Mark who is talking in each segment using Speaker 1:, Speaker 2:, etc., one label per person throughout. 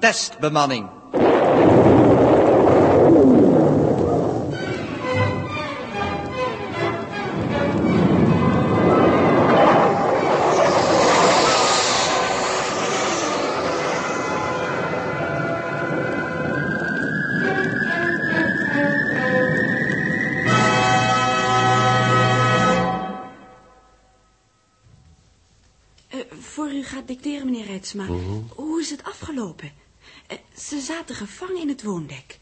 Speaker 1: testbemanning.
Speaker 2: Eh, voor u gaat dicteren, meneer Reitsma. Hoe is het afgelopen? Eh, ze zaten gevangen in het woondek.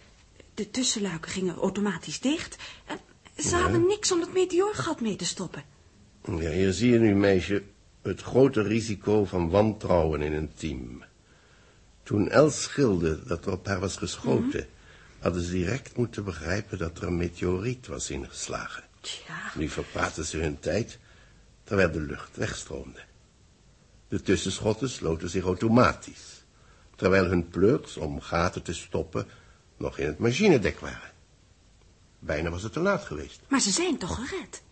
Speaker 2: De tussenluiken gingen automatisch dicht. En ze hadden niks om het meteoorgat mee te stoppen.
Speaker 3: Ja, hier zie je nu, meisje, het grote risico van wantrouwen in een team. Toen Els schilde dat er op haar was geschoten, hadden ze direct moeten begrijpen dat er een meteoriet was ingeslagen.
Speaker 2: Tja,
Speaker 3: Nu verpraten ze hun tijd, terwijl de lucht wegstroomde. De tussenschotten sloten zich automatisch, terwijl hun pleurs om gaten te stoppen nog in het machinedek waren. Bijna was het te laat geweest.
Speaker 2: maar ze zijn toch gered?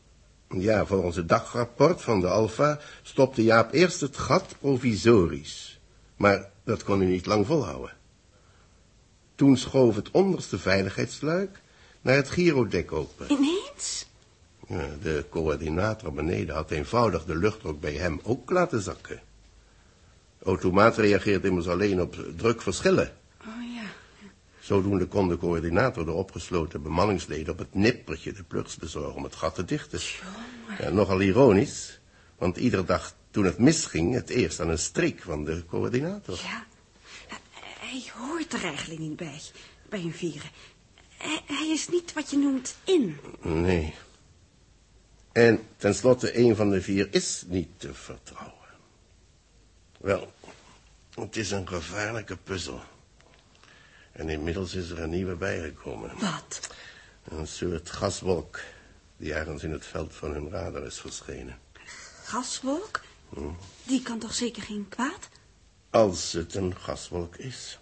Speaker 3: Ja, voor onze dagrapport van de Alfa stopte Jaap eerst het gat provisorisch. Maar dat kon hij niet lang volhouden. Toen schoof het onderste veiligheidsluik naar het gyrodek open.
Speaker 2: Ineens?
Speaker 3: Ja, de coördinator beneden had eenvoudig de luchtdruk bij hem ook laten zakken. De automaat reageert immers alleen op drukverschillen.
Speaker 2: Oh ja.
Speaker 3: Zodoende kon de coördinator de opgesloten bemanningsleden op het nippertje de plugs bezorgen om het gat te dichten. Ja, nogal ironisch, want iedere dag toen het misging, het eerst aan een strik van de coördinator.
Speaker 2: Ja. Eh, Hij hoort er eigenlijk niet bij, bij een vieren. Hij, hij is niet wat je noemt in.
Speaker 3: Nee. En tenslotte, een van de vier is niet te vertrouwen. Wel, het is een gevaarlijke puzzel. En inmiddels is er een nieuwe bijgekomen.
Speaker 2: Wat?
Speaker 3: Een soort gaswolk die ergens in het veld van hun radar is verschenen.
Speaker 2: Gaswolk? Die kan toch zeker geen kwaad?
Speaker 3: Als het een gaswolk is.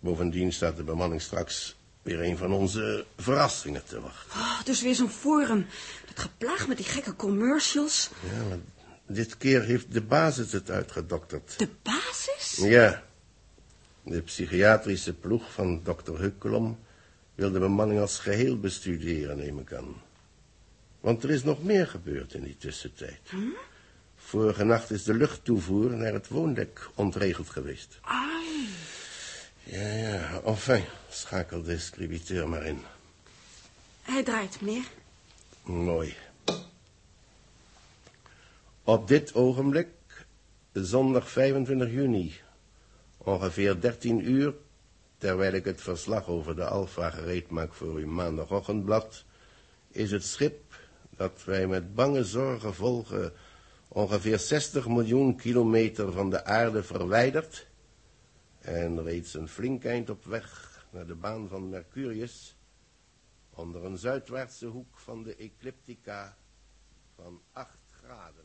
Speaker 3: Bovendien staat de bemanning straks weer een van onze verrassingen te wachten.
Speaker 2: Oh, dus weer zo'n forum. Dat geplaag met die gekke commercials.
Speaker 3: Ja, maar dit keer heeft de basis het uitgedokterd.
Speaker 2: De basis?
Speaker 3: Ja. De psychiatrische ploeg van dokter Hukkelom wil de bemanning als geheel bestuderen, neem ik aan. Want er is nog meer gebeurd in die tussentijd. Vorige nacht is de luchttoevoer naar het woondek ontregeld geweest.
Speaker 2: Ai.
Speaker 3: Ja, ja, enfin, schakel de scribiteur maar in.
Speaker 2: Hij draait, meneer.
Speaker 3: Mooi. Op dit ogenblik, zondag 25 juni, ongeveer 13 uur, terwijl ik het verslag over de Alfa gereed maak voor uw maandagochtendblad, is het schip dat wij met bange zorgen volgen ongeveer 60 miljoen kilometer van de aarde verwijderd en reeds een flink eind op weg naar de baan van Mercurius onder een zuidwaartse hoek van de ecliptica van 8 graden.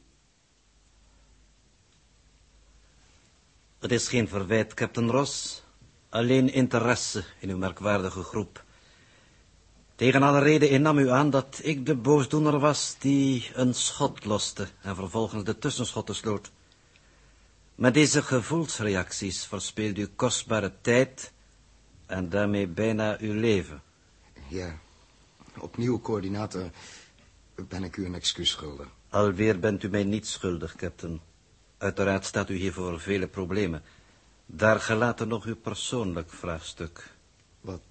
Speaker 4: Het is geen verwijt, Captain Ross. Alleen interesse in uw merkwaardige groep. Tegen alle reden innam u aan dat ik de boosdoener was die een schot loste en vervolgens de tussenschotten sloot. Met deze gevoelsreacties verspeelt u kostbare tijd en daarmee bijna uw leven.
Speaker 5: Ja, opnieuw, coördinator, ben ik u een excuus schuldig.
Speaker 4: Alweer bent u mij niet schuldig, captain. Uiteraard staat u hier voor vele problemen. Daar gelaten nog uw persoonlijk vraagstuk.
Speaker 5: Wat,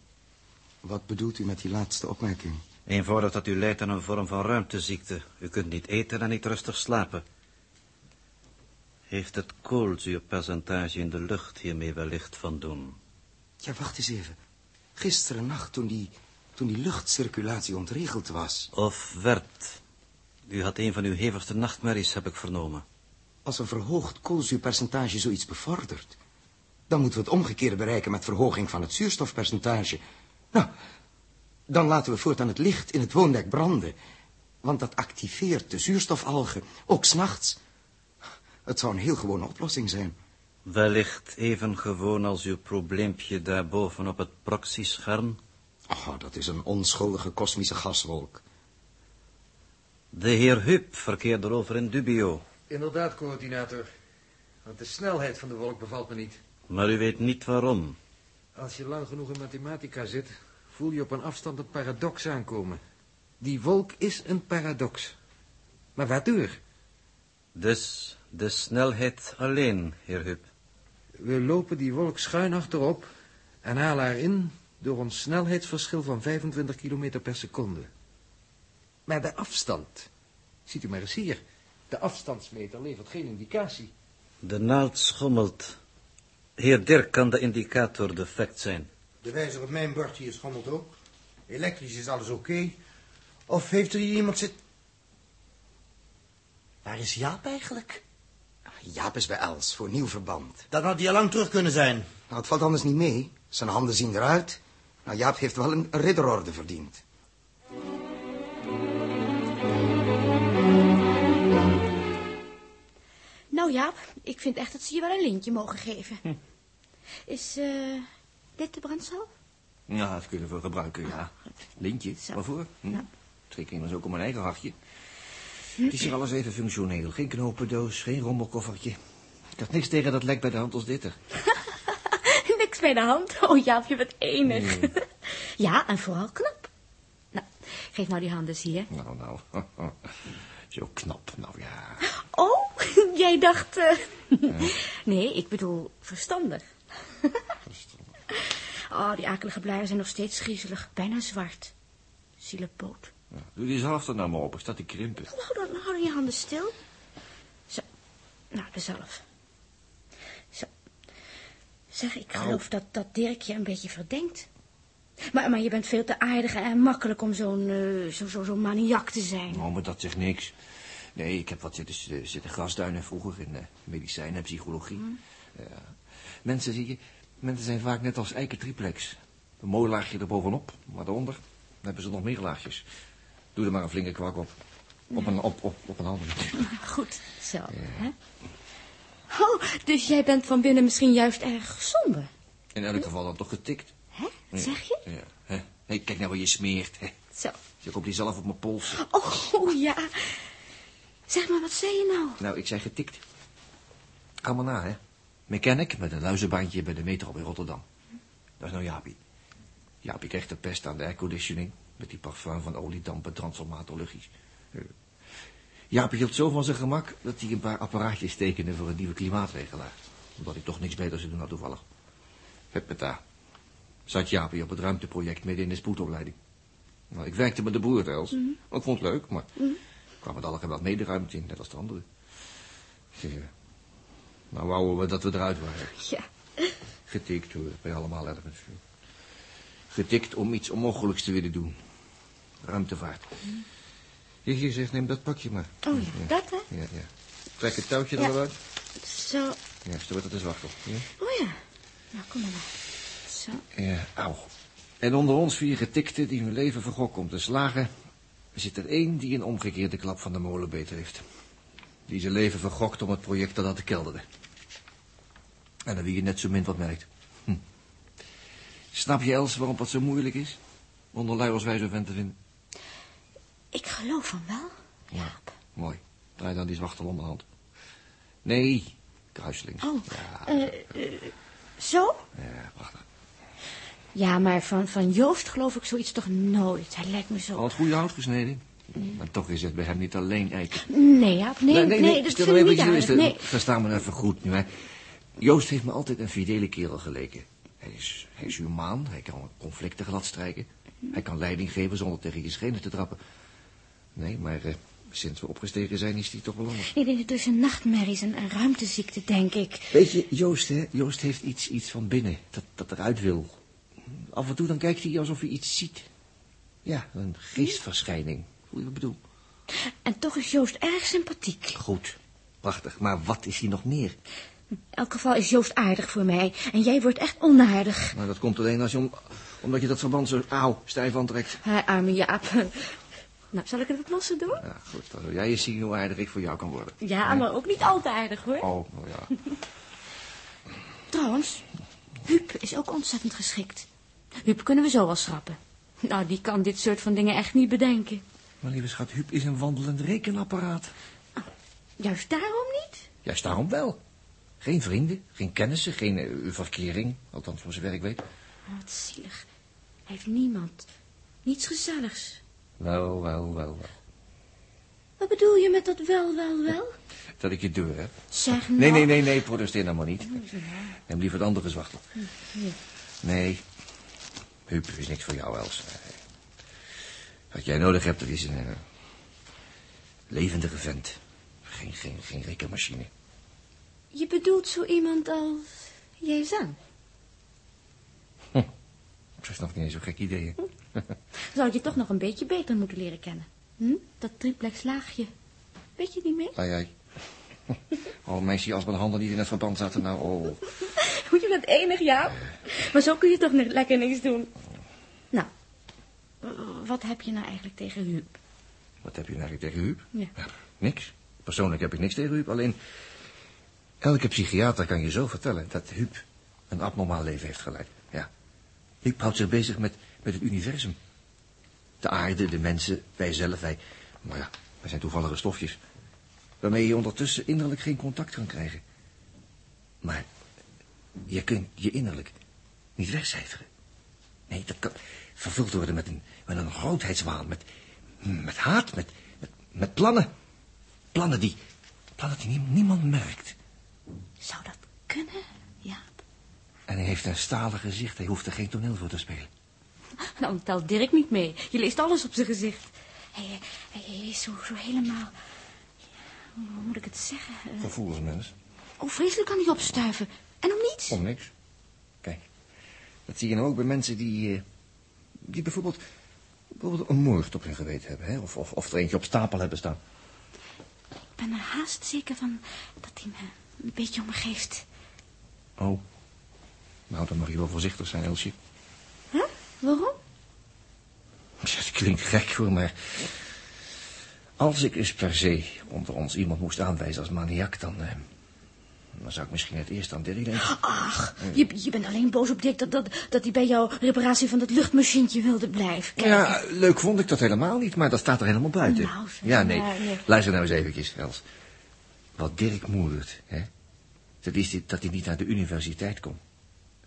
Speaker 5: wat bedoelt u met die laatste opmerking?
Speaker 4: Eenvoudig dat u lijdt aan een vorm van ruimteziekte. U kunt niet eten en niet rustig slapen. Heeft het koolzuurpercentage in de lucht hiermee wellicht van doen?
Speaker 5: Ja, wacht eens even. Gisteren nacht, toen die, toen die luchtcirculatie ontregeld was,
Speaker 4: Of werd? U had een van uw hevigste nachtmerries, heb ik vernomen.
Speaker 5: als een verhoogd koolzuurpercentage zoiets bevordert, dan moeten we het omgekeerde bereiken met verhoging van het zuurstofpercentage. Nou, dan laten we voortaan het licht in het woondek branden, want dat activeert de zuurstofalgen, ook s'nachts. Het zou een heel gewone oplossing zijn.
Speaker 4: Wellicht even gewoon als uw probleempje daarboven op het proxyscherm.
Speaker 5: Oh, dat is een onschuldige kosmische gaswolk.
Speaker 4: De heer Huub verkeerde erover in dubio.
Speaker 6: Inderdaad, coördinator. Want de snelheid van de wolk bevalt me niet.
Speaker 4: Maar u weet niet waarom.
Speaker 1: Als je lang genoeg in mathematica zit, voel je op een afstand een paradox aankomen. Die wolk is een paradox. Maar waardoor?
Speaker 4: Dus de snelheid alleen, heer Huub.
Speaker 1: We lopen die wolk schuin achterop en halen haar in door ons snelheidsverschil van 25 km per seconde. Maar de afstand, ziet u maar eens hier, de afstandsmeter levert geen indicatie.
Speaker 4: De naald schommelt. Heer Dirk, kan de indicator defect zijn?
Speaker 6: De wijzer op mijn bord hier schommelt ook. Elektrisch is alles oké. Of heeft er hier iemand zit... Waar is Jaap eigenlijk?
Speaker 5: Ah, Jaap is bij Els voor nieuw verband.
Speaker 6: Dat had hij al lang terug kunnen zijn.
Speaker 5: Nou, het valt anders niet mee. Zijn handen zien eruit. Nou, Jaap heeft wel een ridderorde verdiend.
Speaker 7: Nou Jaap, ik vind echt dat ze je wel een lintje mogen geven. Is eh, dit de brandstof?
Speaker 1: Ja, dat kunnen we gebruiken, ja. Lintje,
Speaker 7: Zo.
Speaker 1: waarvoor? Hm?
Speaker 7: Ja. Hm?
Speaker 1: Trek immers ook om mijn eigen hachje. Het is hier alles even functioneel. Geen knopendoos, geen rommelkoffertje. Ik had niks tegen dat lek bij de hand als dit er.
Speaker 7: Niks bij de hand. Oh Jaap, je bent enig. ja, en vooral knap. Nou, geef nou die hand eens hier.
Speaker 1: Nou, nou. Zo knap, nou ja.
Speaker 7: Oh, jij dacht... eh, nee, ik bedoel verstandig. oh, die akelige blaren zijn nog steeds griezelig. Bijna zwart. Zielepoot.
Speaker 1: Ja, Doe die zelf er nou maar op, ik sta te krimpen.
Speaker 7: Oh, Hou dan, hou dan je handen stil. Zo. Nou, de zalf. Zo. Zeg, ik geloof dat, dat Dirk je een beetje verdenkt. Maar, maar je bent veel te aardig en makkelijk om zo'n eh, zo, zo, zo'n maniak te zijn.
Speaker 1: Oh, maar dat zegt niks. Nee, ik heb wat zitten, eh, zitten grasduinen vroeger in eh, medicijnen en psychologie. Ja. Mensen, zie je, mensen zijn vaak net als eiken triplex. Een mooi laagje erbovenop, maar daaronder dan hebben ze nog meer laagjes. Doe er maar een flinke kwak op. Op een, op, op, op een andere.
Speaker 7: Goed, zo. Hè? Oh, dus jij bent van binnen misschien juist erg somber.
Speaker 1: In elk geval dan toch getikt.
Speaker 7: Hè? Zeg je?
Speaker 1: Ja. hè? Nee, kijk nou wat je smeert. Hè.
Speaker 7: Zo.
Speaker 1: Je komt die zelf op mijn pols.
Speaker 7: Oh, oh, ja. Zeg maar, wat zei je nou?
Speaker 1: Nou, ik zei getikt. Ga maar na, hè. Mechanic met een luizenbaantje bij de metro in Rotterdam. Dat is nou Jaapie. Jaapie kreeg de pest aan de airconditioning... met die parfum van oliedampen, transformatorluchtjes. Eh, Jaapie hield zo van zijn gemak... dat hij een paar apparaatjes tekende voor een nieuwe klimaatregelaar. Omdat hij toch niks beters te doen had toevallig. Het met daar. Zat Jaapie op het ruimteproject midden in de spoedopleiding. Nou, ik werkte met de broer, Els. Ik vond het leuk, maar... ik kwam met alle geweld mee de ruimte in, net als de anderen. Eh, Ja. Nou wouden we dat we eruit waren.
Speaker 7: Ja.
Speaker 1: Getikt hoor, bij allemaal ergens. Getikt om iets onmogelijks te willen doen. Ruimtevaart. Je, je zegt, neem dat pakje maar.
Speaker 7: Oh ja, dat hè?
Speaker 1: Ja, ja. Trek het touwtje
Speaker 7: Ja.
Speaker 1: er wel uit.
Speaker 7: Zo.
Speaker 1: Ja, zo wordt het een zwachtel. Ja?
Speaker 7: Oh ja. Nou, kom maar. nou. Zo.
Speaker 1: Ja, auw. Eh, En onder ons vier getikten die hun leven vergokken om te slagen... zit er één die een omgekeerde klap van de molen beter heeft. Die zijn leven vergokt om het project dat aan te kelderen. En dan wie je net zo min wat merkt. Hm. Snap je, Els, waarom dat zo moeilijk is? Onder lui als wij zo'n vent te vinden.
Speaker 7: Ik geloof van wel. Jaap.
Speaker 1: Mooi. Draai dan die zwachtel om de hand. Nee, kruislinks.
Speaker 7: Oh,
Speaker 1: Ja,
Speaker 7: eh, eh, zo?
Speaker 1: ja, prachtig.
Speaker 7: Ja, maar van, van Joost geloof ik zoiets toch nooit. Hij lijkt me
Speaker 1: Al
Speaker 7: zo...
Speaker 1: het goede hout gesneden. Maar toch is het bij hem niet alleen eiken.
Speaker 7: Nee, Jaap, nee, nee, dat
Speaker 1: stil
Speaker 7: vind ik
Speaker 1: even
Speaker 7: niet
Speaker 1: iets
Speaker 7: aardig.
Speaker 1: rusten.
Speaker 7: Nee.
Speaker 1: Versta me nou even goed nu, hè. Joost heeft me altijd een fidele kerel geleken. Hij is, hij is humaan, hij kan conflicten gladstrijken. Hij kan leiding geven zonder tegen je schenen te trappen. Nee, maar eh, sinds we opgestegen zijn is hij toch wel anders.
Speaker 7: Nee, dit is dus een nachtmerries en een ruimteziekte, denk ik.
Speaker 1: Weet je, Joost, hè? Joost heeft iets, iets van binnen, dat, dat eruit wil. Af en toe dan kijkt hij alsof hij iets ziet. Ja, een geestverschijning. Hoe je wat ik bedoel.
Speaker 7: En toch is Joost erg sympathiek.
Speaker 1: Goed, prachtig. Maar wat is hij nog meer?
Speaker 7: In elk geval is Joost aardig voor mij. En jij wordt echt onaardig.
Speaker 1: Maar dat komt alleen als je om, omdat je dat verband zo auw, stijf aantrekt.
Speaker 7: Hé, arme Jaap. Nou, zal ik het wat losser doen?
Speaker 1: Ja, goed, dan wil jij eens zien hoe aardig ik voor jou kan worden.
Speaker 7: Ja, maar ook niet al te aardig, hoor.
Speaker 1: Oh, nou ja.
Speaker 7: Trouwens, Huub is ook ontzettend geschikt. Huub kunnen we zo wel schrappen. Nou, die kan dit soort van dingen echt niet bedenken.
Speaker 1: Maar lieve schat, Huub is een wandelend rekenapparaat.
Speaker 7: Juist daarom niet?
Speaker 1: Juist daarom wel. Geen vrienden, geen kennissen, geen eh, verkering. Althans, voor zover ik weet.
Speaker 7: Oh, wat zielig. Hij heeft niemand. Niets gezelligs.
Speaker 1: Wel, wel, wel, wel.
Speaker 7: Wat bedoel je met dat wel, wel, wel?
Speaker 1: Dat ik je deur heb.
Speaker 7: Zeg nou.
Speaker 1: Nee, nee, nee, nee, protesteer nou maar niet. Neem liever het andere zwachtel. Nee. Huub is niks voor jou, Els. Wat jij nodig hebt, dat is een... eh, levendige vent. Geen, geen, geen rekenmachine.
Speaker 7: Je bedoelt zo iemand als Jezan.
Speaker 1: Dat is nog niet eens zo'n gek idee, hè?
Speaker 7: Zou ik je toch nog een beetje beter moeten leren kennen? Hm? Dat triplex laagje. Weet je niet meer?
Speaker 1: Ai, ai. Oh, meisje, als mijn handen niet in het verband zaten, nou, oh.
Speaker 7: Moet je dat enig, ja? Maar zo kun je toch niet lekker niks doen. Nou, w- wat heb je nou eigenlijk tegen Huub?
Speaker 1: Wat heb je nou eigenlijk tegen Huub?
Speaker 7: Ja.
Speaker 1: Niks. Persoonlijk heb ik niks tegen Huub, alleen... Elke psychiater kan je zo vertellen dat Huub een abnormaal leven heeft geleid. Ja. Huub houdt zich bezig met, met het universum. De aarde, de mensen, wij zelf, wij... Maar ja, wij zijn toevallige stofjes. Waarmee je ondertussen innerlijk geen contact kan krijgen. Maar je kunt je innerlijk niet wegcijferen. Nee, dat kan vervuld worden met een, met een grootheidswaan, met, met haat, met, met, met plannen. Plannen die, plannen die nie- niemand merkt.
Speaker 7: Zou dat kunnen, Jaap?
Speaker 1: En hij heeft een stalen gezicht, hij hoeft er geen toneel voor te spelen.
Speaker 7: Dan telt Nou, Dirk niet mee. Je leest alles op zijn gezicht. Hij, hij, hij is zo, zo helemaal... Hoe moet ik het zeggen? Eh,
Speaker 1: Gevoelsmens.
Speaker 7: Oh, vreselijk kan hij opstuiven. En om niets.
Speaker 1: Om niks. Kijk, dat zie je nou ook bij mensen die, eh, die bijvoorbeeld, bijvoorbeeld een moord op hun geweten hebben. Hè? Of, of, of er eentje op stapel hebben staan.
Speaker 7: Ik ben er haast zeker van dat hij me een beetje omgeeft.
Speaker 1: Oh, nou dan mag je wel voorzichtig zijn, Elsje.
Speaker 7: Huh? Waarom?
Speaker 1: Ja, Het klinkt gek hoor, maar... Als ik eens per se onder ons iemand moest aanwijzen als maniak, dan... eh, dan zou ik misschien het eerst aan Dirk denken.
Speaker 7: Ach, je, je bent alleen boos op Dick dat, dat, dat hij bij jouw reparatie van dat luchtmachientje wilde blijven. Kijk,
Speaker 1: Ja, leuk vond ik dat helemaal niet, maar dat staat er helemaal buiten.
Speaker 7: Nou, zeg,
Speaker 1: ja, nee.
Speaker 7: maar, nee.
Speaker 1: Luister nou eens eventjes, Els. Wat Dirk moedert, hè? Dat is dit, dat hij niet naar de universiteit komt.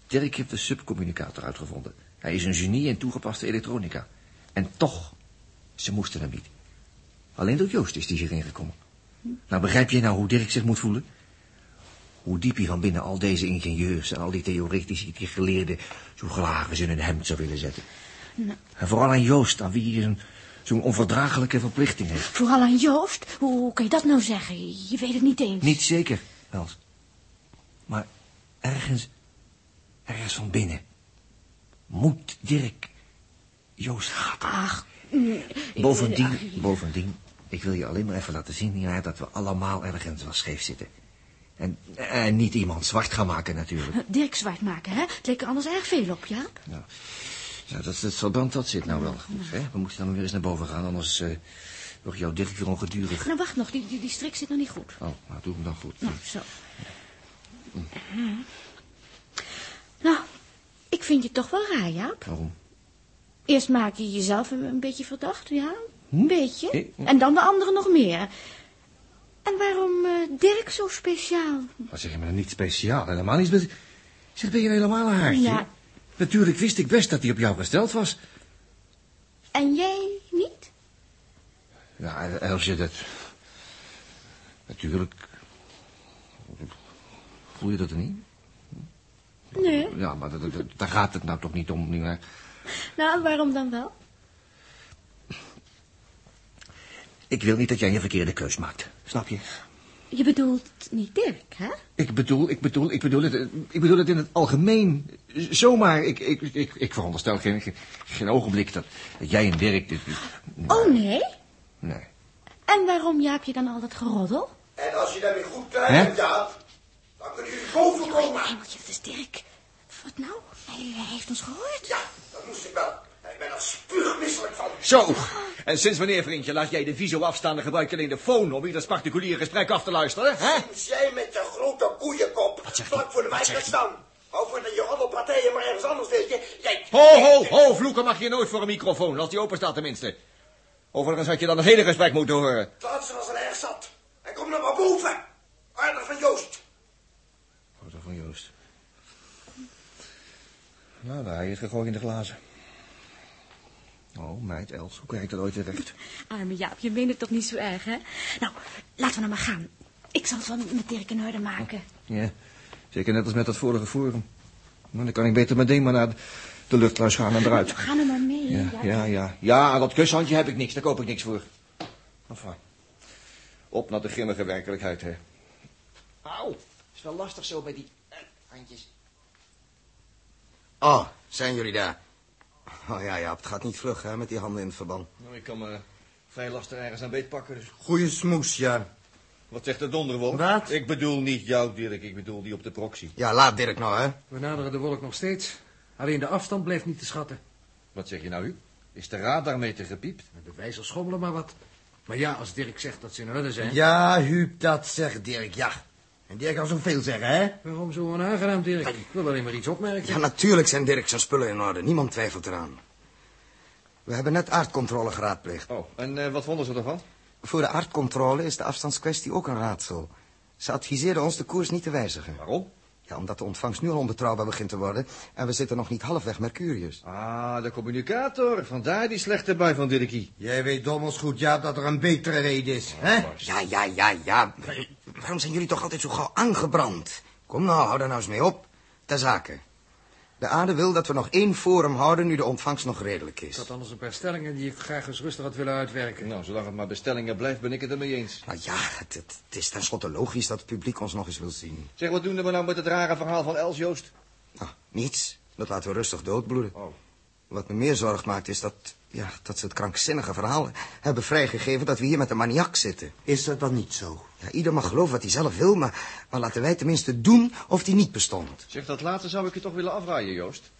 Speaker 1: Dirk heeft de subcommunicator uitgevonden. Hij is een genie in toegepaste elektronica. En toch, ze moesten hem niet. Alleen door Joost is die hierin gekomen. Nou, begrijp je nou hoe Dirk zich moet voelen? Hoe diep hij van binnen al deze ingenieurs en al die theoretici, die geleerden, zo graag eens in hun hemd zou willen zetten. En vooral aan Joost, aan wie hij zo'n- zo'n onverdraaglijke verplichting heeft.
Speaker 7: Vooral aan Joost. Hoe, hoe kan je dat nou zeggen? Je weet het niet eens.
Speaker 1: Niet zeker, Els. Maar ergens, ergens van binnen, moet Dirk Joost haten.
Speaker 7: Ach,
Speaker 1: Bovendien, bovendien, ik wil je alleen maar even laten zien ja, dat we allemaal ergens wel scheef zitten. En, en niet iemand zwart gaan maken natuurlijk.
Speaker 7: Dirk zwart maken, hè? Het leek er anders erg veel op, Jaap.
Speaker 1: Nou, nou dat is het verband, dat zit nou wel goed. Hè? We moeten dan maar weer eens naar boven gaan, anders eh, wordt jouw Dirk weer ongedurig.
Speaker 7: Nou, wacht nog. Die, die, die strik zit nog niet goed.
Speaker 1: Oh, nou doe hem dan goed.
Speaker 7: Nou, zo.
Speaker 1: Mm.
Speaker 7: Nou, ik vind je toch wel raar, Jaap.
Speaker 1: Waarom?
Speaker 7: Eerst maak je jezelf een, een beetje verdacht, ja? Een beetje.
Speaker 1: Ik-
Speaker 7: En dan de anderen nog meer. En waarom eh, Dirk zo speciaal?
Speaker 1: Wat zeg je me nou niet speciaal? Helemaal niet speciaal. Zeg, ben je nou helemaal een haartje?
Speaker 7: Ja.
Speaker 1: Natuurlijk wist ik best dat hij op jou gesteld was.
Speaker 7: En jij niet?
Speaker 1: Ja, Elsje, dat... Natuurlijk... Voel je dat er niet?
Speaker 7: Nee.
Speaker 1: Ja, maar dat, dat- daar gaat het nou toch niet om, nietwaar?
Speaker 7: Nou, waarom dan wel?
Speaker 1: Ik wil niet dat jij een verkeerde keus maakt. Snap je?
Speaker 7: Je bedoelt niet Dirk, hè?
Speaker 1: Ik bedoel, ik bedoel, ik bedoel het, eh, ik bedoel het in het algemeen. Z- Zomaar, ik, ik, ik, ik veronderstel geen, geen, geen ogenblik dat, dat jij en Dirk dit...
Speaker 7: Oh, nee?
Speaker 1: Nee.
Speaker 7: En waarom jaap je dan al dat geroddel?
Speaker 6: En als je daarmee goed
Speaker 1: Hè?
Speaker 6: tijd hebt, Jaap, dan kun je boven komen.
Speaker 7: Engeltje, dat Oh, is Dirk. Wat nou? Hij, hij heeft ons gehoord.
Speaker 6: Ja, dat moest ik wel. Ik ben er spuugmisselijk van.
Speaker 1: Zo! En sinds wanneer, vriendje, laat jij de viso afstaan en gebruik je alleen de phone om ieders particuliere gesprek af te luisteren, hè?
Speaker 6: Sinds jij met je grote koeienkop vlak voor de wijk gaat staan. Hou voor de je roddelpartijen maar ergens anders, weet je. Jij,
Speaker 1: Ho, ho, ho, vloeken mag je nooit voor een microfoon, als die open staat tenminste. Overigens had je dan het hele gesprek moeten horen.
Speaker 6: Laat ze als een erg zat. En kom dan maar boven. Aardig van Joost.
Speaker 8: van Joost. Nou, daar is gegooid in de glazen. Oh, meid Els, hoe krijg ik dat ooit terecht?
Speaker 7: Arme Jaap, je meent het toch niet zo erg, hè? Nou, laten we nou maar gaan. Ik zal het wel met Dirk in orde maken.
Speaker 8: Ja, zeker net als met dat vorige forum. Nou, dan kan ik beter meteen maar naar de- de luchtluis gaan en eruit.
Speaker 7: Ga nou maar mee,
Speaker 8: Ja,
Speaker 7: Jaap.
Speaker 8: ja, ja. Ja, aan dat kushandje heb ik niks. Daar koop ik niks voor. Enfin. Op naar de grimmige werkelijkheid, hè. Au, is wel lastig zo bij die eh, handjes. Ah.
Speaker 9: Oh, zijn jullie daar? Oh ja, ja, het gaat niet vlug, hè, met die handen in het verband.
Speaker 8: Nou, ik kan me vrij lastig ergens aan beetpakken, dus...
Speaker 9: Goeie smoes, ja.
Speaker 8: Wat zegt de donderwolk?
Speaker 9: Wat?
Speaker 8: Ik bedoel niet jou, Dirk. Ik bedoel die op de proxy.
Speaker 9: Ja, laat Dirk nou, hè.
Speaker 10: We naderen de wolk nog steeds. Alleen de afstand blijft niet te schatten.
Speaker 8: Wat zeg je nou, u? Is de raad daarmee te gepiept?
Speaker 10: De wijzers schommelen maar wat. Maar ja, als Dirk zegt dat ze in orde zijn...
Speaker 9: Ja, Huub, dat zegt Dirk, ja. En Dirk kan zoveel zeggen, hè?
Speaker 10: Waarom zo onaangenaam, Dirk? Ik wil alleen maar iets opmerken.
Speaker 9: Ja, natuurlijk zijn Dirk zijn spullen in orde. Niemand twijfelt eraan. We hebben net aardcontrole geraadpleegd.
Speaker 8: Oh, en eh, wat vonden ze ervan?
Speaker 9: Voor de aardcontrole is de afstandskwestie ook een raadsel. Ze adviseerden ons de koers niet te wijzigen.
Speaker 8: Waarom?
Speaker 9: Ja, omdat de ontvangst nu al onbetrouwbaar begint te worden... en we zitten nog niet halfweg Mercurius.
Speaker 8: Ah, de communicator. Vandaar die slechte bui van Dirkie.
Speaker 9: Jij weet dommels goed, ja, dat er een betere reden is, hè? Ja, ja, ja, ja. Waarom zijn jullie toch altijd zo gauw aangebrand? Kom nou, hou daar nou eens mee op. Ter zake. De aarde wil dat we nog één forum houden nu de ontvangst nog redelijk
Speaker 10: Ik
Speaker 9: is.
Speaker 10: had anders een paar stellingen die ik graag eens rustig had willen uitwerken.
Speaker 8: Nou, zolang het maar bestellingen blijft, ben ik het ermee eens.
Speaker 9: Nou ja, het, het, het is tenslotte logisch dat het publiek ons nog eens wil zien.
Speaker 8: Zeg, wat doen we nou met het rare verhaal van Els Joost?
Speaker 9: Nou, niets. Dat laten we rustig doodbloeden.
Speaker 8: Oh.
Speaker 9: Wat me meer zorg maakt is dat, ja, dat ze het krankzinnige verhaal hebben vrijgegeven dat we hier met een maniak zitten.
Speaker 11: Is dat dan niet zo?
Speaker 9: Ja, ieder mag geloven wat hij zelf wil, maar, maar laten wij tenminste doen of die niet bestond.
Speaker 8: Zeg, dat laatste zou ik je toch willen afraaien, Joost.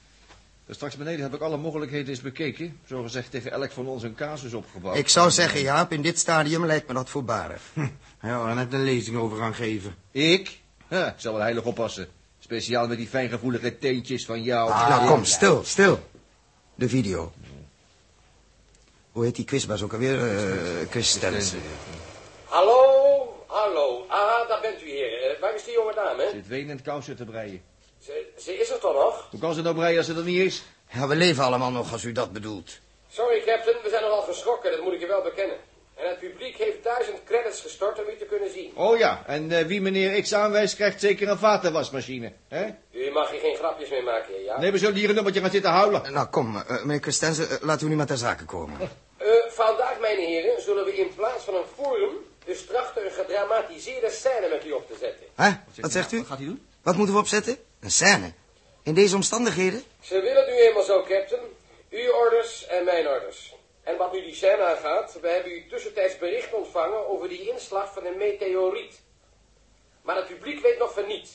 Speaker 8: Dus straks beneden heb ik alle mogelijkheden eens bekeken. Zogezegd tegen elk van ons een casus
Speaker 11: Oh.
Speaker 8: opgebouwd.
Speaker 9: Ik zou zeggen, Jaap, in dit stadium lijkt me dat voorbarig.
Speaker 11: Hm. Ja, daar net een lezing over gaan geven.
Speaker 8: Ik? Huh, ik zal wel heilig oppassen. Speciaal met die fijngevoelige teentjes van jou.
Speaker 11: Ah,
Speaker 9: nou, kom, stil, stil. De video. Hoe heet die quizbaas ook alweer? Eh Chris Stennis.
Speaker 12: Hallo, hallo. Ah, daar bent u hier. Eh, waar is die jonge dame?
Speaker 8: Zit wenend kousen te breien.
Speaker 12: Ze, ze is er toch nog?
Speaker 8: Hoe kan ze nou breien als ze er niet is?
Speaker 9: Ja, we leven allemaal nog, als u dat bedoelt.
Speaker 12: Sorry, Captain, we zijn nogal geschrokken, dat moet ik je wel bekennen. En het publiek heeft duizend credits gestort om u te kunnen zien.
Speaker 8: Oh ja, en eh, wie meneer X aanwijst, krijgt zeker een vatenwasmachine. Hè?
Speaker 12: U mag hier geen grapjes meer maken, heer Jaap.
Speaker 8: Nee, we zullen hier een nummertje gaan zitten huilen.
Speaker 9: Nou, kom, eh, meneer Christensen, eh, laten we nu maar ter zake
Speaker 8: Oh.
Speaker 9: komen.
Speaker 12: Eh, vandaag, mijn heren, zullen we in plaats van een forum... dus trachten een gedramatiseerde scène met u op te zetten.
Speaker 8: Oh,
Speaker 9: Hè? Wat zegt u?
Speaker 8: nou? Wat gaat hij doen?
Speaker 9: Wat moeten we opzetten? Een scène. In deze omstandigheden?
Speaker 12: Ze willen nu eenmaal zo, Captain. Uw orders en mijn orders. En wat nu die scène aangaat, we hebben u tussentijds bericht ontvangen over die inslag van een meteoriet. Maar het publiek weet nog van niet.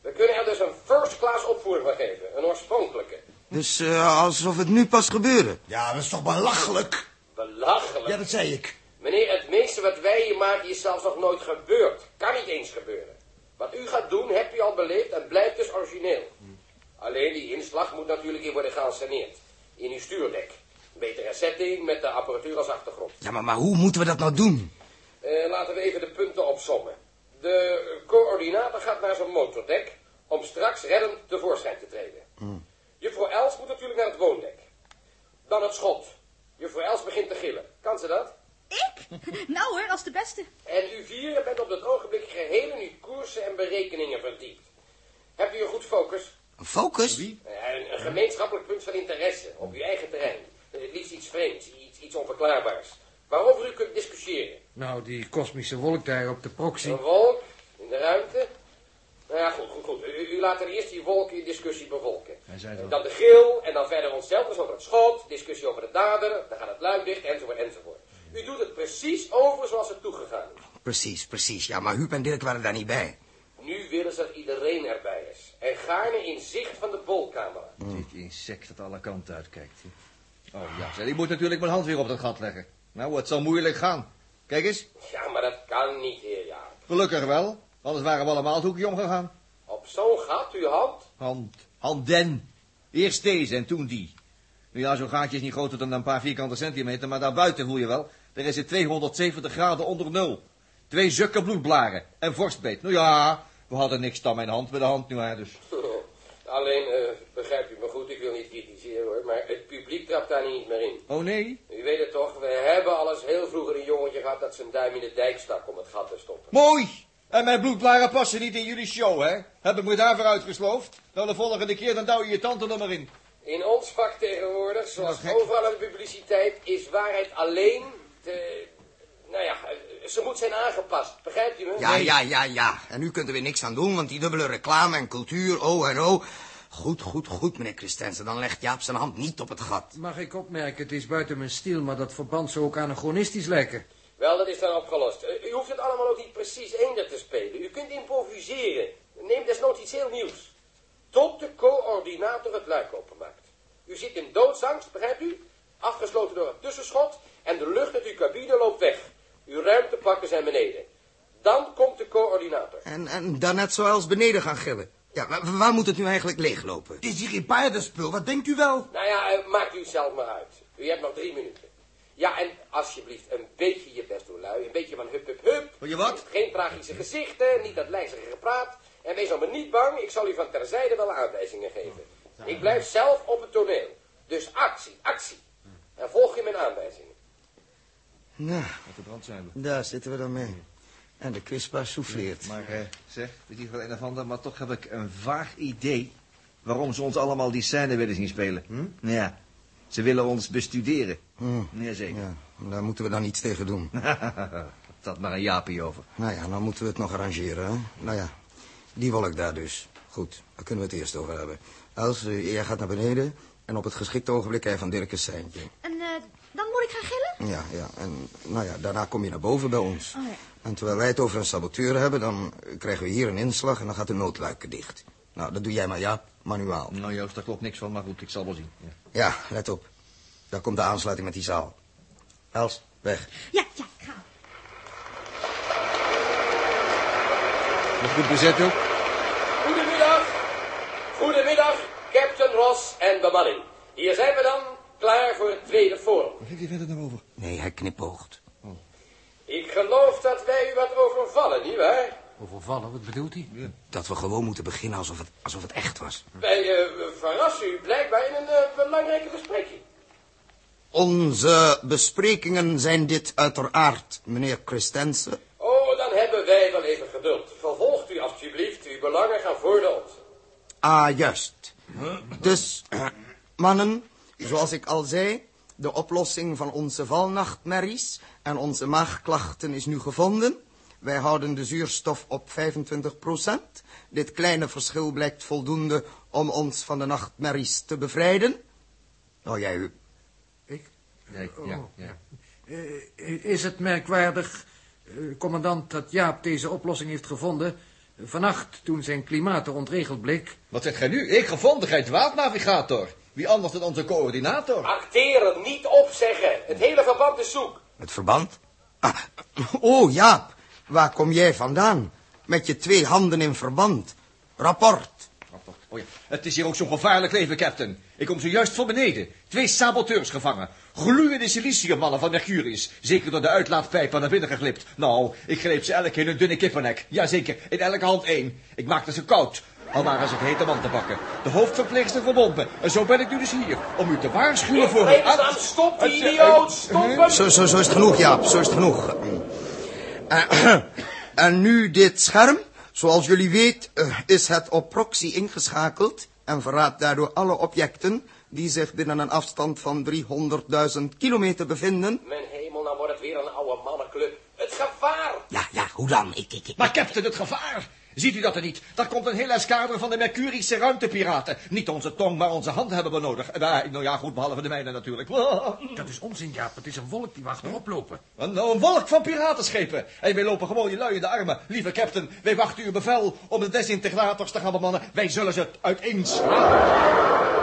Speaker 12: We kunnen er dus een first-class opvoering van geven, een oorspronkelijke.
Speaker 9: Dus eh, alsof het nu pas gebeurde.
Speaker 11: Ja, dat is toch belachelijk?
Speaker 12: Belachelijk.
Speaker 11: Ja, dat zei ik.
Speaker 12: Meneer, het meeste wat wij hier maken is zelfs nog nooit gebeurd. Kan niet eens gebeuren. Wat u gaat doen, hebt u al beleefd en blijft dus origineel. Alleen die inslag moet natuurlijk hier worden geanceneerd. In uw stuurdek. Betere setting met de apparatuur als achtergrond.
Speaker 9: Ja, maar, maar hoe moeten we dat nou doen?
Speaker 12: Eh, laten we even de punten opsommen. De coördinator gaat naar zijn motordek om straks reddend tevoorschijn te treden. Juffrouw Els moet natuurlijk naar het woondek. Dan het schot. Juffrouw Els begint te gillen. Kan ze dat?
Speaker 7: Nou hoor, als de beste.
Speaker 12: En u vieren bent op dat ogenblik geheel in uw koersen en berekeningen verdiept. Hebt u een goed focus?
Speaker 9: Focus?
Speaker 12: Eh, Een, een gemeenschappelijk punt van interesse op uw eigen terrein. Eh, Het liefst iets vreemds, iets, iets onverklaarbaars. Waarover u kunt discussiëren.
Speaker 10: Nou, die kosmische wolk daar op de proxy.
Speaker 12: Een wolk in de ruimte. Nou ja, goed, goed, goed. U, u laat er eerst die wolk in discussie bevolken. Dan de geel en dan verder onszelf. Dus over het schot, discussie over de dader. Dan gaat het luim dicht, enzovoort, enzovoort. U doet het precies over zoals het toegegaan is.
Speaker 9: Precies, precies. Ja, maar Huub en Dirk waren daar niet bij.
Speaker 12: Nu willen ze dat iedereen erbij is. En gaarne in zicht van de bolcamera.
Speaker 8: Dit insect dat alle kanten uitkijkt. hè. Oh ja, zeg, ik moet natuurlijk mijn hand weer op dat gat leggen. Nou, het zal moeilijk gaan. Kijk eens,
Speaker 12: Ja, maar dat kan niet, heer Jaap.
Speaker 8: gelukkig wel. Anders waren we allemaal het hoekje omgegaan.
Speaker 12: Op zo'n gat uw hand?
Speaker 8: Hand, handen. Eerst deze en toen die. Nu ja, zo'n gaatje is niet groter dan een paar vierkante centimeter, maar daarbuiten voel je wel. Er is het 270 graden onder nul. Twee zukken bloedblaren en vorstbeet. Nou ja, We hadden niks dan mijn hand bij de hand nu, hè, dus.
Speaker 12: Alleen, eh, begrijp je me goed, ik wil niet kritiseren hoor, maar het publiek trapt daar niet meer in.
Speaker 8: Oh, nee?
Speaker 12: U weet het toch, we hebben alles heel vroeger een jongetje gehad dat zijn duim in de dijk stak om het gat te stoppen.
Speaker 8: Mooi! En mijn bloedblaren passen niet in jullie show, hè? Hebben we daarvoor uitgesloofd? Nou, de volgende keer dan douw je je tante er maar in.
Speaker 12: In ons vak tegenwoordig, zoals overal in de publiciteit, is waarheid alleen te... Nou ja, ze moet zijn aangepast, begrijp je me?
Speaker 9: Ja,
Speaker 12: Nee.
Speaker 9: ja, ja, ja. En nu kunt er weer niks aan doen, want die dubbele reclame en cultuur, o en o. Goed, goed, goed, meneer Christensen. Dan legt Jaap zijn hand niet op het gat.
Speaker 10: Mag ik opmerken, het is buiten mijn stiel, maar dat verband zou ook anachronistisch lijken.
Speaker 12: Wel, dat is dan opgelost. Eh, U hoeft het allemaal ook niet precies eender te spelen. U kunt improviseren. Neem desnoods iets heel nieuws. Tot de coördinator het luik openmaakt. U zit in doodsangst, begrijpt u? Afgesloten door het tussenschot en de lucht uit uw cabine loopt weg. Uw ruimtepakken zijn beneden. Dan komt de coördinator.
Speaker 9: En, en daarnet zoals beneden gaan gillen. Ja, waar, waar moet het nu eigenlijk leeglopen? Het is hier geen paardenspul, wat denkt u wel?
Speaker 12: Nou ja, eh, maakt u het zelf maar uit. U hebt nog drie minuten. Ja, en alsjeblieft, een beetje je best doen, lui. Een beetje van hup, hup, hup. Wil je wat? Geen tragische gezichten, niet dat lijzige gepraat. En wees allemaal niet bang, ik zal u van terzijde wel aanwijzingen geven. Ik blijf zelf op het toneel. Dus actie, actie. En volg je mijn aanwijzingen.
Speaker 9: Nou,
Speaker 8: Met de brand zijn we.
Speaker 9: daar zitten we dan mee. En de quizbaas souffleert.
Speaker 8: Maar eh, zeg, weet je wel een of ander, maar toch heb ik een vaag idee waarom ze ons allemaal die scène willen zien spelen. Nou Ja, ze willen ons bestuderen.
Speaker 9: Hm.
Speaker 8: Ja, zeker.
Speaker 9: Ja, daar moeten we dan iets tegen doen.
Speaker 8: Dat maar een jaapie over.
Speaker 9: Nou ja, dan moeten we het nog arrangeren, hè? Nou ja, die wolk daar dus. Goed, daar kunnen we het eerst over hebben. Els, eh, jij gaat naar beneden en op het geschikte ogenblik krijg je van Dirk een seintje.
Speaker 7: En eh, dan moet ik gaan gillen?
Speaker 9: Ja, ja, en nou ja, daarna kom je naar boven bij ons.
Speaker 7: Oh, ja.
Speaker 9: En terwijl wij het over een saboteur hebben, dan eh, krijgen we hier een inslag en dan gaat de noodluiken dicht. Nou, dat doe jij maar, Jaap, manuaal.
Speaker 8: Nou Joost, daar klopt niks van, maar goed, ik zal wel zien. Ja.
Speaker 9: Ja, let op. Daar komt de aansluiting met die zaal. Els, weg.
Speaker 7: Ja, ja, ik ga.
Speaker 10: Nog goed bezet ook?
Speaker 12: Goedemiddag. Goedemiddag, Captain Ross en bemanning. Hier zijn we dan, klaar voor het tweede forum.
Speaker 8: Wat heeft die verder nou over?
Speaker 9: Nee, hij knipoogt.
Speaker 12: Ik geloof dat wij u wat overvallen, nietwaar?
Speaker 10: Overvallen, wat bedoelt hij?
Speaker 9: Dat we gewoon moeten beginnen alsof het, alsof het echt was.
Speaker 12: Wij eh, verrassen u blijkbaar in een eh, belangrijke bespreking.
Speaker 9: Onze besprekingen zijn dit uiteraard, meneer Christensen.
Speaker 12: Oh, dan hebben wij wel even geduld. Vervolgt u alsjeblieft, uw belangen gaan voor de onze.
Speaker 9: Ah, juist. Dus, eh, mannen, zoals ik al zei, de oplossing van onze valnachtmerries en onze maagklachten is nu gevonden. Wij houden de zuurstof op 25%. Dit kleine verschil blijkt voldoende om ons van de nachtmerries te bevrijden. Nou, jij, Huub.
Speaker 8: Nee, ja, ja.
Speaker 10: Oh. Eh, is het merkwaardig, eh, commandant, dat Jaap deze oplossing heeft gevonden... eh, vannacht, toen zijn klimaat er ontregeld bleek...
Speaker 8: Wat zegt gij nu? Ik gevonden, gij dwaadnavigator. Wie anders dan onze coördinator?
Speaker 12: Acteren, niet opzeggen. Het hele verband is zoek.
Speaker 9: Het verband? Ah, oh, Jaap, waar kom jij vandaan? Met je twee handen in verband. Rapport.
Speaker 8: Oh ja. Het is hier ook zo'n gevaarlijk leven, captain. Ik kom zojuist van beneden. Twee saboteurs gevangen. Gloeiende siliciummannen van Mercurius. Zeker door de uitlaatpijpen naar binnen geglipt. Nou, ik greep ze elk in een dunne kippennek. Jazeker, in elke hand één. Ik maakte ze koud. Al maar eens het hete man te bakken. De hoofdverpleegster verbonden. En zo ben ik nu dus hier. Om u te waarschuwen voor...
Speaker 12: Vreemd aan, stop die idioot, stop
Speaker 8: Eh,
Speaker 12: hem.
Speaker 9: Zo, zo, zo is het genoeg, Jaap, zo is het genoeg. Eh, En nu dit scherm. Zoals jullie weet eh, is het op proxy ingeschakeld en verraadt daardoor alle objecten die zich binnen een afstand van 300.000 kilometer bevinden.
Speaker 12: Mijn hemel, nou wordt het weer een oude mannenclub. Het gevaar.
Speaker 9: Ja, ja, hoe dan? Ik, ik, ik.
Speaker 8: Maar captain, het gevaar! Ziet u dat er niet? Daar komt een heel eskader van de Mercurische ruimtepiraten. Niet onze tong, maar onze hand hebben we nodig. Eh, nou, Nou ja, goed, behalve de mijne natuurlijk.
Speaker 10: Dat is onzin, Jaap. Het is een wolk die we achterop lopen.
Speaker 8: Een, een wolk van piratenschepen. En wij lopen gewoon je lui in de armen. Lieve captain, wij wachten uw bevel om de desintegrators te gaan bemannen. Wij zullen ze uiteenslaan.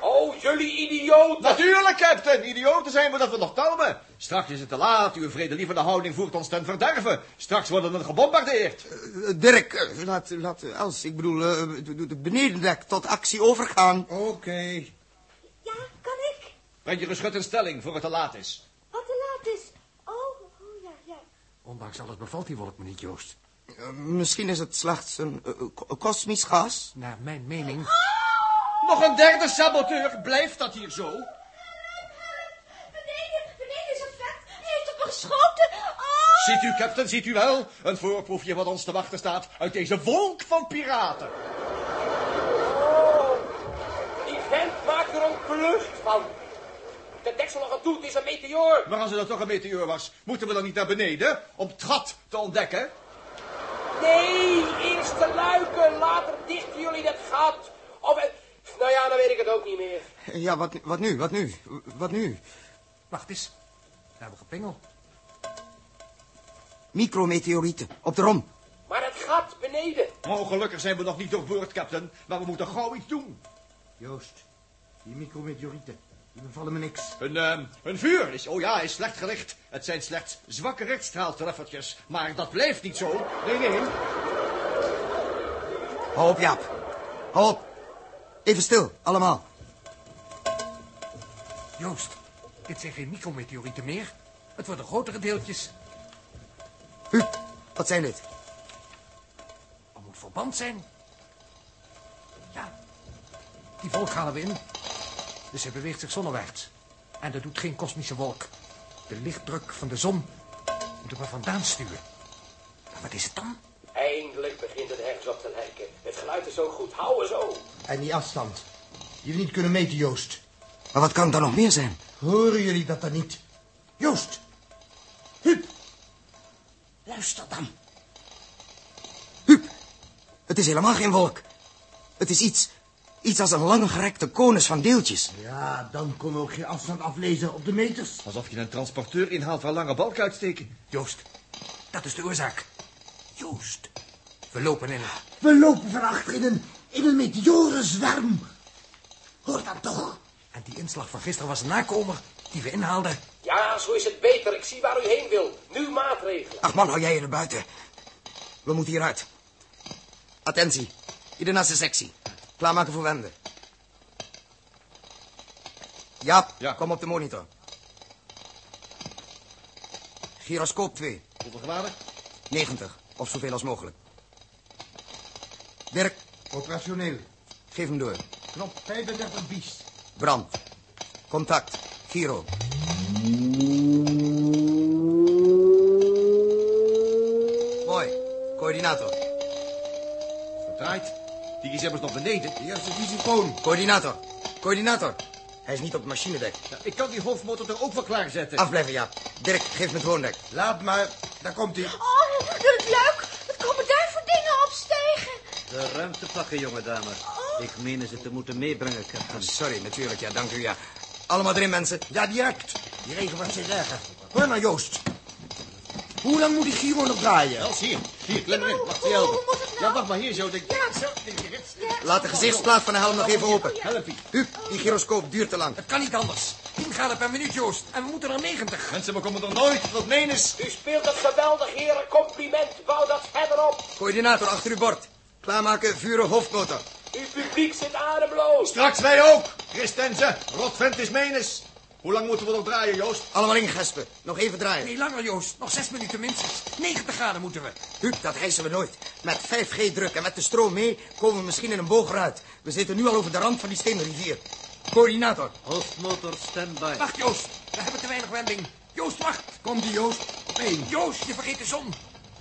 Speaker 12: Oh, jullie idioot.
Speaker 8: Natuurlijk, captain. Idioten zijn we dat we nog talmen. Straks is het te laat. Uw vredelievende houding voert ons ten verderven. Straks worden we gebombardeerd.
Speaker 9: Eh, Dirk, eh, laat, laat eh, Els, ik bedoel, eh, de- de- de benedendek tot actie overgaan.
Speaker 8: Oké.
Speaker 7: Ja, kan ik?
Speaker 8: Breng je geschut in stelling voor het te laat is.
Speaker 7: Wat te laat is. Oh, oh ja, ja.
Speaker 10: Ondanks alles bevalt die wolk me niet, Joost.
Speaker 9: Eh, Misschien is het slechts een eh, ko- kosmisch gas.
Speaker 10: Naar mijn mening.
Speaker 8: Nog een derde saboteur, blijft dat hier zo?
Speaker 7: Beneden, beneden is een vent. Hij heeft op me geschoten. Oh!
Speaker 8: Ziet u, captain, ziet u wel? Een voorproefje wat ons te wachten staat uit deze wolk van piraten.
Speaker 12: Die vent maakt er een klucht van. De deksel nog aan toe, het is een meteoor.
Speaker 8: Maar als er dan toch een meteor was, moeten we dan niet naar beneden om het gat te ontdekken?
Speaker 12: Nee, eerst de luiken, later dichten jullie dat gat. Of, het- nou ja, dan weet ik het ook niet meer.
Speaker 9: Ja, wat, wat nu, wat nu, wat nu?
Speaker 10: Wacht eens. We hebben gepingeld.
Speaker 9: Micrometeorieten, op de rom.
Speaker 12: Maar het gat beneden.
Speaker 8: Oh, gelukkig zijn we nog niet doorboord, captain. Maar we moeten gauw iets doen.
Speaker 6: Joost, die micrometeorieten, die bevallen me niks.
Speaker 8: Een, eh, een vuur is, oh ja, is slecht gericht. Het zijn slechts zwakke rechtstraaltreffertjes. Maar dat blijft niet zo. Nee, nee.
Speaker 9: Hou op, Jaap. Hou op. Even stil, allemaal.
Speaker 10: Joost, dit zijn geen micrometeorieten meer. Het worden grotere deeltjes.
Speaker 9: Huub, wat zijn dit?
Speaker 10: Er moet verband zijn. Ja, die wolk halen we in. Dus hij beweegt zich zonnewaarts. En dat doet geen kosmische wolk. De lichtdruk van de zon moet er maar vandaan sturen. Maar wat is het dan?
Speaker 12: Eindelijk begint het ergens op te lijken. Het geluid is ook goed, hou er zo.
Speaker 6: En die afstand, die we niet kunnen meten, Joost.
Speaker 9: Maar wat kan het dan nog meer zijn?
Speaker 6: Horen jullie dat dan niet? Joost! Huub!
Speaker 9: Luister dan. Huub, het is helemaal geen wolk. Het is iets, iets als een langgerekte konus van deeltjes.
Speaker 6: Ja, dan kon we ook geen afstand aflezen op de meters.
Speaker 8: Alsof je een transporteur inhaalt waar lange balk uitsteken.
Speaker 10: Joost, dat is de oorzaak. Joost, we lopen in.
Speaker 6: We lopen van achter in een, in een meteorenzwerm. Hoor dat toch?
Speaker 10: En die inslag van gisteren was een nakomer die we inhaalden.
Speaker 12: Ja, zo is het beter. Ik zie waar u heen wil. Nu maatregelen.
Speaker 9: Ach man, hou jij je er buiten. We moeten hieruit. Attentie, ieder naar zijn sectie. Klaarmaken voor wenden. Jaap, kom op de monitor. Gyroscoop 2.
Speaker 8: Hoeveel graden?
Speaker 9: 90, of zoveel als mogelijk. Dirk. Operationeel. Geef hem door.
Speaker 6: Knop 35 bies.
Speaker 9: Brand. Contact. Giro. Mooi. Coördinator.
Speaker 8: Verdraaid. Die is immers nog beneden. De
Speaker 6: eerste visiofoon.
Speaker 9: Coördinator. Coördinator. Hij is niet op het machinedek.
Speaker 8: ik kan die hoofdmotor toch ook wel klaarzetten?
Speaker 6: Ah.
Speaker 9: Afblijven, ja. Dirk, geef me het woondek.
Speaker 6: Laat maar, daar komt hij.
Speaker 7: Oh, door het luik. Wat komen daar voor dingen opstegen?
Speaker 13: De ruimte pakken, jonge dame. Ik meen ze te moeten meebrengen, captain.
Speaker 9: sorry, natuurlijk, ja, dank u, ja. Allemaal erin, mensen.
Speaker 6: Ja, direct. Die regen wordt steeds erger. Hoor nou, Joost. Hoe lang moet die Giro nog draaien?
Speaker 8: Wel, zie je. Hier, klim erin. Wacht, die helpen. Ja, wacht maar. Hier zo. Denk... nou? Ja, zo. Denk je, dit-
Speaker 9: Laat de gezichtsplaat van de helm nog even open.
Speaker 8: Helpie.
Speaker 9: Huub, die gyroscoop duurt te lang.
Speaker 10: Het kan niet anders. 10 graden per minuut, Joost. En we moeten naar 90.
Speaker 8: Mensen, we komen er nooit. Wat meen is?
Speaker 12: U speelt het geweldig, heren. Compliment. Bouw dat verder op.
Speaker 9: Coördinator, achter uw bord. Klaarmaken, vuren, hoofdmotor.
Speaker 12: Uw publiek zit ademloos.
Speaker 8: Straks wij ook. Christensen. Rotvent is menens. Hoe lang moeten we nog draaien, Joost?
Speaker 9: Allemaal ingespen. Nog even draaien.
Speaker 10: Nee, langer, Joost. Nog 6 minuten minstens. 90 graden moeten we.
Speaker 9: Huub, dat hijsen we nooit. Met 5G-druk en met de stroom mee komen we misschien in een boog eruit. We zitten nu al over de rand van die steenrivier. Coördinator.
Speaker 13: Hoofdmotor standby.
Speaker 10: Wacht, Joost. We hebben te weinig wending. Joost, wacht.
Speaker 6: Komt die, Joost? Op één.
Speaker 10: Joost, je vergeet de zon.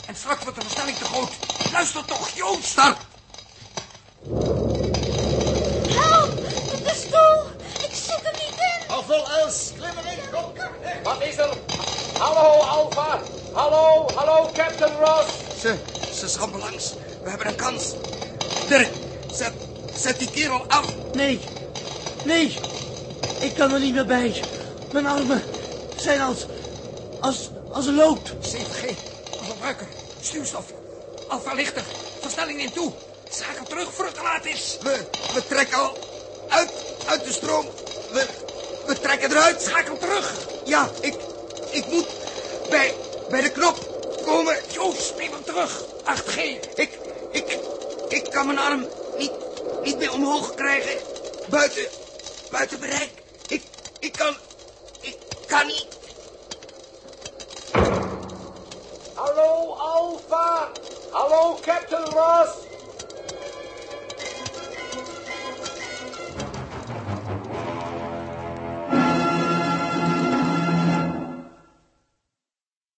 Speaker 10: En straks wordt de versnelling te groot. Luister toch, Joost. Start.
Speaker 7: Help, de stoel. Ik zit er niet in.
Speaker 8: Hou vol, Els. Klim erin. Kom.
Speaker 12: Wat is er? Hallo, Alpha. Hallo, hallo, Captain Ross.
Speaker 9: Ze, ze schampen langs. We hebben een kans. Dirk, zet, zet die kerel af.
Speaker 6: Nee. Nee. Ik kan er niet meer bij. Mijn armen zijn als... Als, als een lood.
Speaker 10: 7G. We verbruiken. Stuurstof. Alfa lichter. Versnelling in toe. Schakel terug voor het te laat is.
Speaker 9: We, we trekken al uit, uit de stroom. We, we trekken eruit.
Speaker 10: Schakel terug.
Speaker 9: Ja, ik, ik moet bij, bij de knop komen.
Speaker 10: Joost, neem hem terug. 8G.
Speaker 9: Ik, ik, ik kan mijn arm niet, niet meer omhoog krijgen. Buiten, buiten bereik. Ik, ik kan, ik kan niet.
Speaker 12: Hallo, Alpha.
Speaker 6: Hallo, Captain Ross!